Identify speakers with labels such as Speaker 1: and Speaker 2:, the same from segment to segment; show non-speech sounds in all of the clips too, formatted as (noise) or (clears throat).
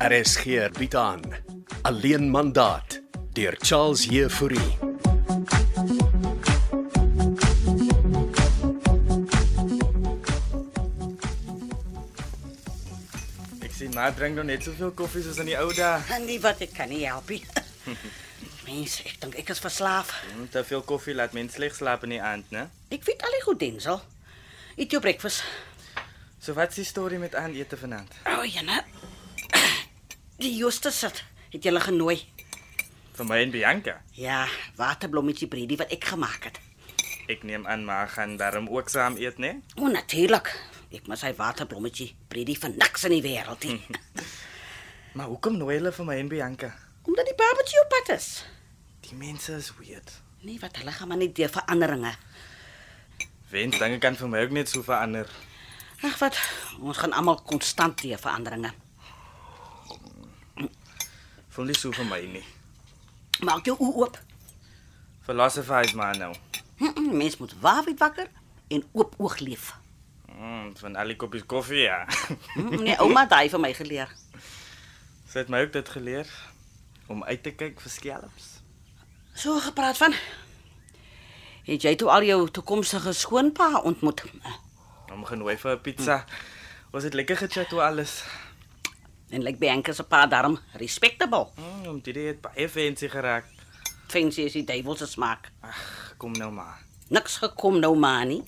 Speaker 1: RSG bied aan Alleen mandaat deur Charles Heffouri.
Speaker 2: Ek sien maar drink nog net soveel koffie soos in die ou dae.
Speaker 3: En die wat ek kan nie help nie. (laughs) Mense, ek dink ek is verslaaf.
Speaker 2: Mm, Te veel koffie laat mens sleg slaap in die aand, né?
Speaker 3: Ek weet al die goed Denzel. Eet jou breakfast.
Speaker 2: So wat is die storie met aandete vanaand?
Speaker 3: O, oh, Jana. (clears throat) Die Justus het het julle genooi.
Speaker 2: Vir my en Bianca.
Speaker 3: Ja, waterblommetjie breedie wat ek gemaak het.
Speaker 2: Ek neem aan maar gaan daarom ook saam eet, né?
Speaker 3: O, natuurlik. Ek moet sy waterblommetjie breedie vir niks in die wêreld (laughs) hê.
Speaker 2: Maar hoekom nooi hulle vir my en Bianca?
Speaker 3: Omdat die barbecue op pad is.
Speaker 2: Die mense is weird.
Speaker 3: Nee, wat hulle gaan maar net deur veranderinge.
Speaker 2: Wens dinge kan vir my ook net so verander.
Speaker 3: Ag wat, ons gaan almal konstant deur veranderinge.
Speaker 2: Voel nie so vir my nie.
Speaker 3: Maak jou oë oop.
Speaker 2: Philosophize maar nou.
Speaker 3: Mm -mm, Mens moet waakheid wakker en oop oog leef.
Speaker 2: Mm, van al die koppies koffie ja. (laughs)
Speaker 3: Mm, Nee, ouma het daai vir my geleer.
Speaker 2: Sy het my ook dit geleer om uit te kyk vir skelms.
Speaker 3: So gepraat van. Het jy toe al jou toekomstige skoonpa ontmoet?
Speaker 2: Hom genooi vir 'n pizza. Was dit lekker gechat oor alles?
Speaker 3: En lyk like Bianca se pa daarom respectable.
Speaker 2: Mm, om dit het baie fancy geraak.
Speaker 3: Fancy is die duiwel se smaak.
Speaker 2: Ag, kom nou maar.
Speaker 3: Niks gekom nou maar nie.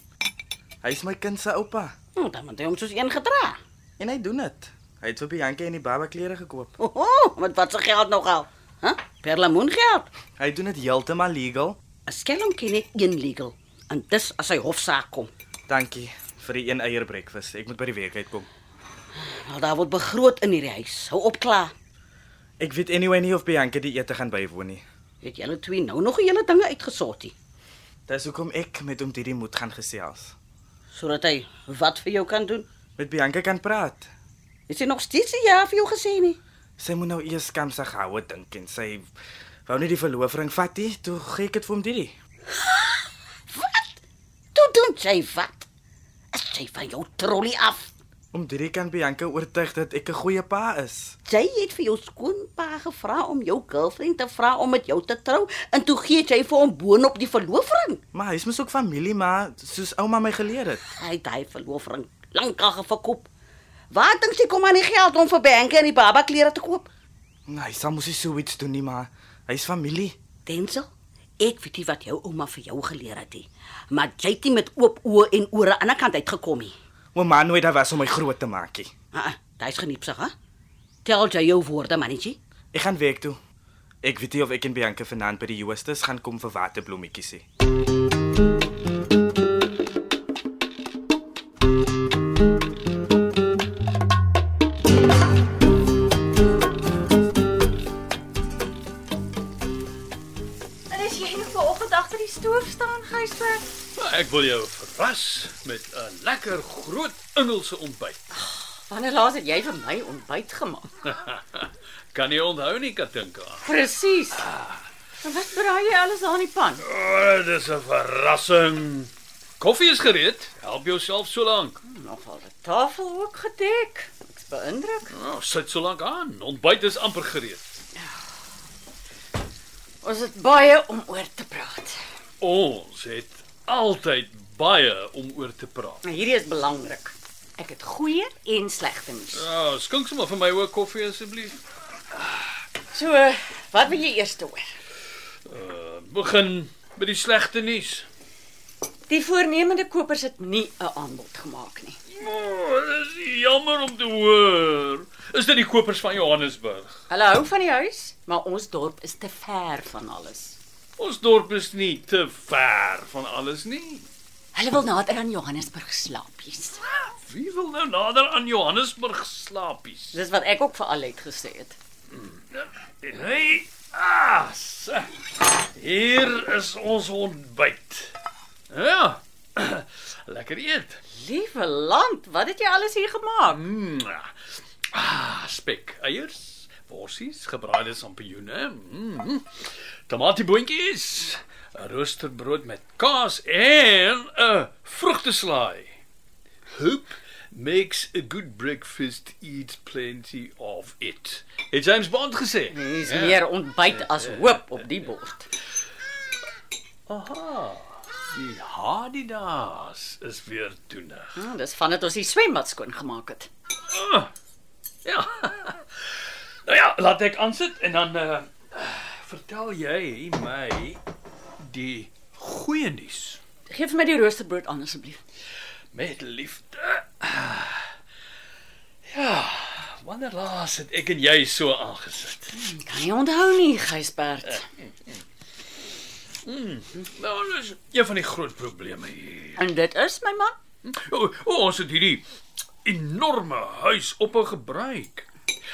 Speaker 2: Hy's my kind se oupa
Speaker 3: Hm, dan moet hy hom soos een gedra.
Speaker 2: en hy doen dit. Hy het vir Bianca en die baba klere gekoop.
Speaker 3: Oho, met wat se geld nogal? Hæ? Huh? Perlemoen geld.
Speaker 2: Hy doen dit heeltemal legal.
Speaker 3: 'n Skelm ken ek een legal. En dis as hy hofsaak kom.
Speaker 2: Dankie vir die een eier breakfast. Ek moet by die werk uitkom.
Speaker 3: Nou daar word begroot in hierdie huis. Hou op klaar.
Speaker 2: Ek weet anyway nie of Bianca die ete gaan bywoon nie.
Speaker 3: Het julle twee nou nog 'n hele dinge uitgesortie
Speaker 2: Dis hoekom ek met hom hierdie moet gaan gesels.
Speaker 3: sodat hy wat vir jou kan doen?
Speaker 2: Met Bianca kan praat.
Speaker 3: Is hy nog steeds nie ja vir jou gesê nie?
Speaker 2: Sy moet nou eers skamsig houe dink en sy wou nie die verloofring vat nie. Toe gee ek dit vir hom dit.
Speaker 3: Wat? Toe doen jy wat? As jy van jou trollie af.
Speaker 2: Om dit kan Bianca oortuig dat ek 'n goeie pa is.
Speaker 3: Jy het vir jou skoonpa gevra om jou girlfriend te vra om met jou te trou en toe gee jy vir hom boonop die verloofring.
Speaker 2: Maar hy's mos ook familie, maar soos ouma my geleer het.
Speaker 3: Hy het hy verloofring lankal geverkoop. Waar dink jy kom aan die geld om vir Bianca en die baba klere te koop?
Speaker 2: Nee, hy sal mos nie so iets doen nie, maar hy's familie.
Speaker 3: Denzel, ek weet nie wat jou ouma vir jou geleer het nie, maar jy het nie met oop oë en ore aan die kant uitgekom nie.
Speaker 2: Ouma nooit daar was om my groot te maak nie.
Speaker 3: Ah, ah, hy's geniepsig, hè? Tel jy jou woorde, mannetjie?
Speaker 2: Ek gaan werk toe. Ek weet nie of ek en Bianca vanaand by die Joostes gaan kom vir waterblommetjies nie.
Speaker 4: En as jy nog vanoggend agter die stoof staan, Gysbert,
Speaker 5: Maar Nou, ek wil jou verras met 'n lekker groot Engelse ontbyt.
Speaker 4: wanneer laas het jy vir my ontbyt gemaak?
Speaker 5: Kan jy onthou nie, Katinka?
Speaker 4: Presies. En wat braai jy alles daar in die pan?
Speaker 5: O, oh, dis 'n verrassing. Koffie is gereed. Help jouself so lank.
Speaker 4: Nogal 'n tafel ook gedek. Ek's beïndruk.
Speaker 5: Nou, sit so lank aan. Ontbyt is amper gereed.
Speaker 4: Ons het baie om oor te praat.
Speaker 5: Ons het altyd baie om oor te praat.
Speaker 4: Maar hierdie is belangrik. Ek het goeie en slegte nuus.
Speaker 5: Ja, skink sommer vir my ook koffie asseblief.
Speaker 4: So, wat wil jy eers hoor?
Speaker 5: Uh, begin met die slegte nuus.
Speaker 4: Die voornemende kopers het nie 'n aanbod gemaak nie.
Speaker 5: O, oh, dis jammer om te hoor. Is dit die kopers van Johannesburg?
Speaker 4: Hulle hou van die huis, maar ons dorp is te ver van alles.
Speaker 5: Ons dorp is nie te ver van alles nie.
Speaker 4: Hulle wil nader aan Johannesburg slaapies.
Speaker 5: Wie wil nou nader aan Johannesburg slaapies?
Speaker 4: Dis wat ek ook vir al het gesê het.
Speaker 5: Hey, as. Hier is ons ontbyt. Ja. (clears throat) Lekker eet.
Speaker 4: Liewe land, wat het jy alles hier gemaak?
Speaker 5: Mm. Ah, spek, eiers, worsies, gebraaide sampioene, mm. tomatieboontjies, roosterbrood met kaas en 'n vrugteslaai. Hoop makes a good breakfast eat plenty of it. Het James Bond gesê.
Speaker 3: Dis meer ontbyt as hoop op die bord.
Speaker 5: Aha. Die Hadidas is weer toenig.
Speaker 3: Hm, dis van dit ons die swembad skoon gemaak het.
Speaker 5: Ja. (laughs) nou ja, laat ek aansit en dan uh, vertel jy my die goeie nuus
Speaker 3: Geef vir my die roosterbrood aan asseblief.
Speaker 5: met liefde. Ja, wanneer laas het ek en jy so aangesit?
Speaker 3: Kan jy onthou nie, Gysbert?
Speaker 5: Nou, dis een van die groot probleme hier.
Speaker 3: En dit is my man.
Speaker 5: O, o, ons het hierdie enorme huis op 'n gebruik.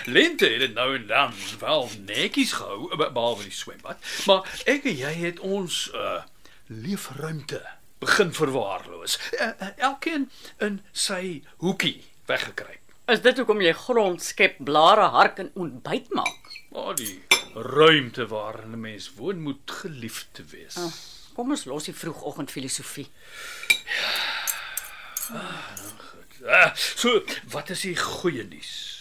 Speaker 5: Lente het dit nou en dan wel netjies gehou eh, be- behalwe die swembad, maar ek en jy het ons uh leefruimte begin verwaarloos. Uh, uh, elkeen in sy hoekie weggekruip.
Speaker 3: Is dit hoekom jy grond skep, blare hark en ontbyt maak?
Speaker 5: Maar die ruimte waarin 'n mens woon moet geliefd wees.
Speaker 3: Ah.
Speaker 5: Oh.
Speaker 3: Kom ons los die vroegoggend filosofie.
Speaker 5: Uh, so, wat is die goeie nuus?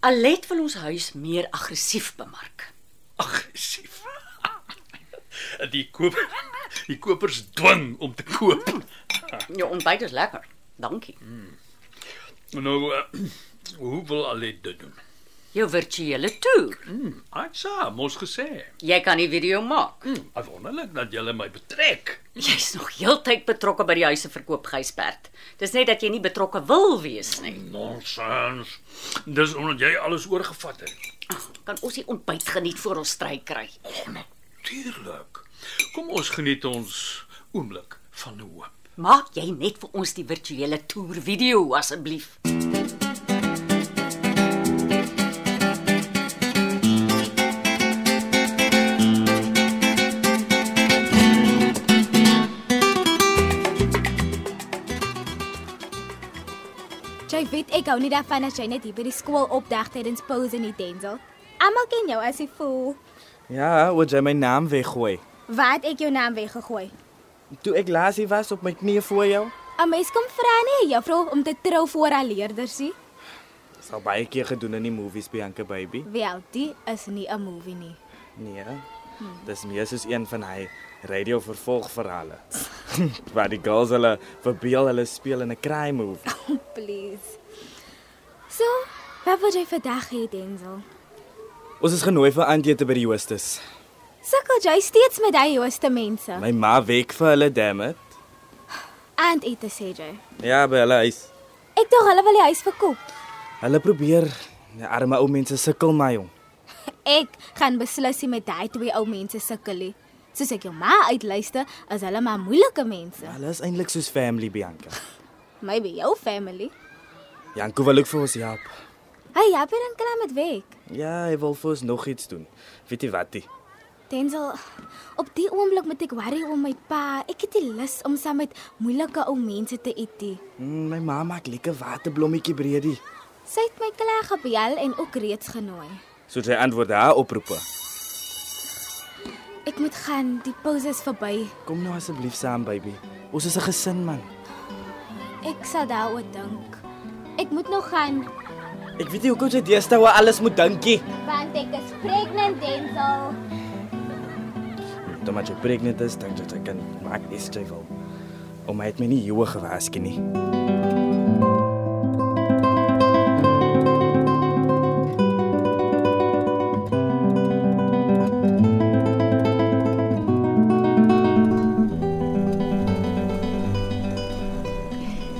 Speaker 3: Alet wil ons huis meer aggressief bemark.
Speaker 5: aggressief. (laughs) Die koop die kopers dwing om te koop.
Speaker 3: Jou ontbyt is lekker. Dankie.
Speaker 5: Nou uh, hoe wil Alet dit doen?
Speaker 3: Jou virtuele toer.
Speaker 5: Atsa, mos gesê.
Speaker 3: Jy kan die video maak.
Speaker 5: Hmm, Wonderlik dat jy my betrek.
Speaker 3: Jy's nog heeltyd betrokke by die huise verkoop, Gysbert. Dis net dat jy nie betrokke wil wees nie.
Speaker 5: Nonsens. Dis omdat jy alles oorgevat het.
Speaker 3: Kan ons die ontbyt geniet voor ons stry kry?
Speaker 5: Natuurlik. Kom ons geniet ons oomblik van hoop.
Speaker 3: Maak jy net vir ons die virtuele toer video asseblief.
Speaker 6: Jy weet ek hou nie daarvan as jy net hier by die skool opdag tydens pause in die tensel. Almal ken jou as jy voel.
Speaker 2: Ja, oor jy my naam weggooi.
Speaker 6: Wat ek jou naam weggegooi.
Speaker 2: Toe ek laas hier was op my knieë voor jou,
Speaker 6: 'n Mens kom vra nie jou vrou om te trou voor haar leerders nie.
Speaker 2: is al baie keer gedoen in die movies Bianca baby.
Speaker 6: Wel, dit is nie 'n movie nie.
Speaker 2: Nee. Dis meer soos een van hy radio vervolgverhale. (laughs) Waar die girls hulle verbeel hulle speel in 'n crime movie.
Speaker 6: Please. So, wat wil jy vandag hê, Denzel?
Speaker 2: Ons is genooi vir aandete by die hostess.
Speaker 6: Sukkel jy steeds met daai jongste mense?
Speaker 2: My ma wek vir hulle dammit.
Speaker 6: Aand ete sê jy.
Speaker 2: Ja, by hulle huis.
Speaker 6: Ek dink hulle wil die huis verkoop.
Speaker 2: Hulle probeer die arme ou mense sukkel my jong.
Speaker 6: Ek gaan beslis nie met daai twee ou mense sukkel nie. Soos ek jou ma uitluister, is hulle maar moeilike mense.
Speaker 2: Hulle is eintlik soos family Bianca.
Speaker 6: Maybe jou family.
Speaker 2: Janko wil ook vir ons help.
Speaker 6: Hy help hier dan klaar met werk.
Speaker 2: Ja, hy wil vir ons nog iets doen. Weet jy wat? Die?
Speaker 6: Denzel, op die oomblik moet ek worry om my pa. Ek het nie lus om saam met moeilike ou mense te eet nie.
Speaker 2: Mm, my ma maak lekker waterblommetjie breedie.
Speaker 6: Sy het my klaar gebel en ook reeds genooi.
Speaker 2: So sy antwoord haar oproepe.
Speaker 6: Ek moet gaan, die pause is verby.
Speaker 2: Kom nou asseblief saam, baby. Ons is 'n gesin man.
Speaker 6: Ek sal daaroor dink. Ek moet nog gaan
Speaker 2: Ek weet nie hoekom jy deesdae oor alles moet dinkie.
Speaker 6: want ek is pregnant, Denzel.
Speaker 2: Toe maar jy pregnant is, dink jy dat ek kan maak is jy wil. Ouma het my nie joue gewaarsku nie.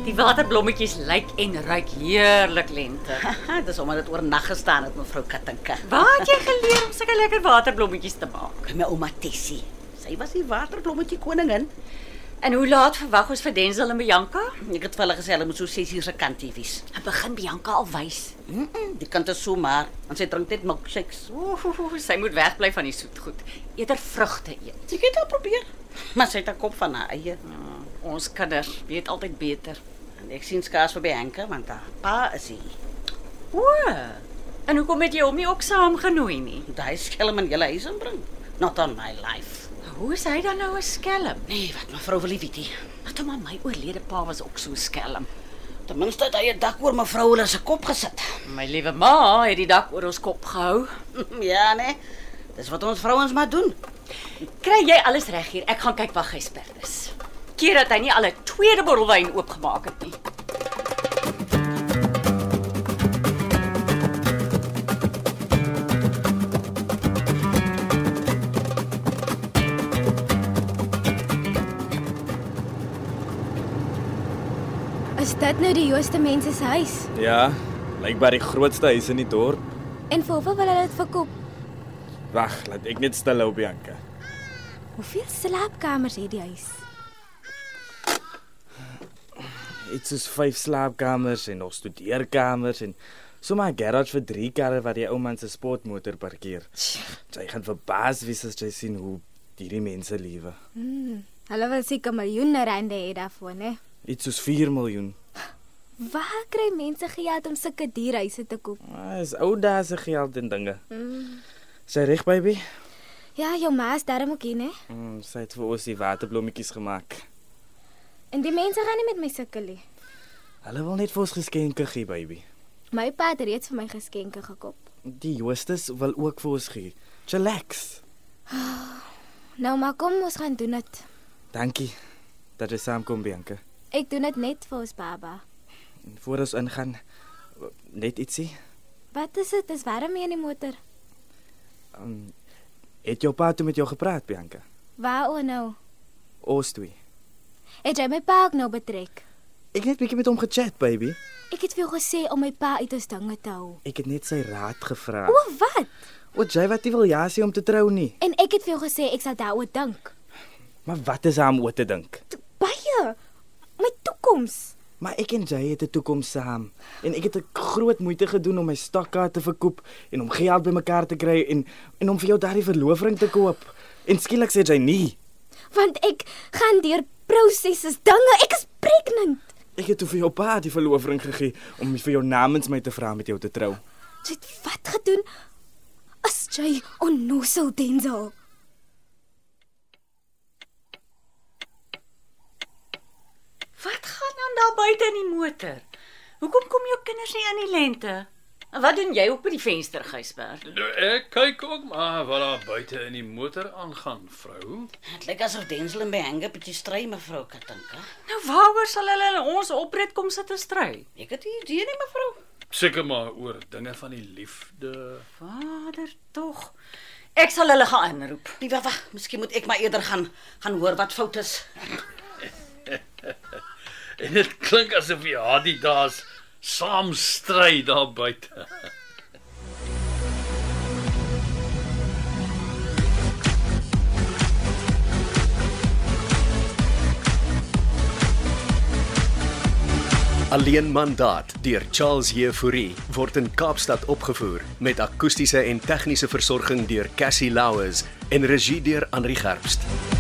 Speaker 3: Die waterblommetjies lyk en ruik heerlik (laughs) lente. Haha, dis omdat dit oornag gestaan het mevrou Katinka.
Speaker 6: Waar het jy
Speaker 3: geleer om sulke lekker waterblommetjies te maak? By my ouma Tessie. Sy was die waterblommetjie koningin.
Speaker 6: En hoe laat verwag ons vir Denzel en Bianca?
Speaker 3: Ek het vir hulle gesê hulle moet so 6 uur se kant hier wees.
Speaker 6: Begin Bianca al wys.
Speaker 3: Mm -mm, die kant is so maar. En sy drink net milkshakes.
Speaker 6: Ooh, sy moet wegbly van die soetgoed. Eerder vrugte eet.
Speaker 3: Ek het al probeer, Ja. maar sy het haar kop van haar eie.
Speaker 6: Ons kinders weet altyd beter.
Speaker 3: En ek sien skaars verby Henke want haar pa is hy.
Speaker 6: O. En hoekom het jy hom nie ook saamgenooi nie?
Speaker 3: Daai skelm in julle huis inbring. Not on my life.
Speaker 6: Hoe is hy dan nou 'n skelm?
Speaker 3: Nee, wat mevrou wil nie weet nie.
Speaker 6: Ag, toe maar my oorlede pa was ook so skelm.
Speaker 3: Ten minste het hy 'n dak oor mevrou hulle se kop gesit. My liewe ma het die dak oor ons kop gehou. (laughs) ja, nee. Dis wat ons vrouens maar doen.
Speaker 7: Kry jy alles reg hier? Ek gaan kyk waar Gysbert is. Keer dat hy nie al 'n tweede bottel wyn oopgemaak het nie.
Speaker 6: Is dit nou die Jooste mense se huis?
Speaker 2: Ja, lyk by die grootste huis in die dorp.
Speaker 6: En vir hoeveel wil hulle dit verkoop?
Speaker 2: Wag, laat ek net stil hou Bianca.
Speaker 6: Hoeveel slaapkamers het die huis?
Speaker 2: Dit is vyf slaapkamers en nog studeerkamers en sommer 'n garage vir 3 karre wat die ou man se sportmotor parkeer. Jy gaan verbaas wees as jy sien hoe hierdie mense lewe.
Speaker 6: Hmm, Hulle wil seker miljoene rande hê daarvoor, né?
Speaker 2: Iets soos 4 miljoen.
Speaker 6: Waar kry mense geld om sulke dierhuise te koop?
Speaker 2: Ah, Is ou daar se geld en dinge. Sy reg baby.
Speaker 6: Ja, jou ma is daarom ook hier, né?
Speaker 2: Mm, sy het vir ons die waterblommetjies gemaak.
Speaker 6: En die mense gaan nie met my sukkel nie.
Speaker 2: Hulle wil net vir ons geskenke gee baby.
Speaker 6: My pa het reeds vir my geskenke gekoop.
Speaker 2: Die Joostes wil ook vir ons gee. Chillax.
Speaker 6: Nou maar kom ons gaan doen dit.
Speaker 2: Dankie dat jy saamkom Bianca.
Speaker 6: Ek doen dit net vir ons baba.
Speaker 2: En voor ons ingaan net ietsie.
Speaker 6: Wat is dit? Dis warm hier in die motor.
Speaker 2: Um, het jou pa toe met jou gepraat, Bianca?
Speaker 6: Waaroor nou?
Speaker 2: Ons twee.
Speaker 6: Het jy my pa ook nou betrek?
Speaker 2: Ek het net bietjie met hom gechat, baby.
Speaker 6: Ek het vir jou gesê om my pa uit ons dinge te hou.
Speaker 2: Ek het net sy raad gevra.
Speaker 6: O, wat?
Speaker 2: Wat jy wat nie wil ja sê om te trou nie.
Speaker 6: En ek het vir jou gesê ek sal daaroor dink.
Speaker 2: Maar wat is hom oor te dink?
Speaker 6: Toe- Baie. My toekoms.
Speaker 2: Maar ek en jy het 'n toekoms saam en ek het 'n groot moeite gedoen om my stokkaart te verkoop en om geld bymekaar te kry en en om vir jou daardie verloofring te koop. En skielik sê jy nee.
Speaker 6: Want ek gaan deur prosesse, dinge. Ek is pregnant.
Speaker 2: Ek het toe vir jou pa die verloofring gegee om vir jou namens my te vra om met jou te trou.
Speaker 6: Jy het wat gedoen? Is jy onnosel Denzel?
Speaker 7: Wat gaan aan daar buite in die motor? Hoekom kom jou kinders nie in die lente? En wat doen jy op by die venster, Gysbert?
Speaker 5: Nou, Ek kyk ook maar wat daar buite in die motor aangaan, vrou.
Speaker 3: Dit lyk asof Denzel en Behanga bietjie stry mevrou Katanka.
Speaker 7: Nou waaroor sal hulle in ons oprit kom sit en stry?
Speaker 3: Ek het hier die nie mevrou.
Speaker 5: Seker maar oor dinge van die liefde.
Speaker 7: Vader tog. Ek sal hulle gaan inroep.
Speaker 3: Nee, wag, wag, miskien moet ek maar eerder gaan gaan hoor wat fout is.
Speaker 5: En dit klink asof die Adidas saam stry daar buite.
Speaker 1: Alleen mandaat deur Charles Jefouri word in Kaapstad opgevoer met akoestiese en tegniese versorging deur Cassie Louws en regie deur Henri Gerst.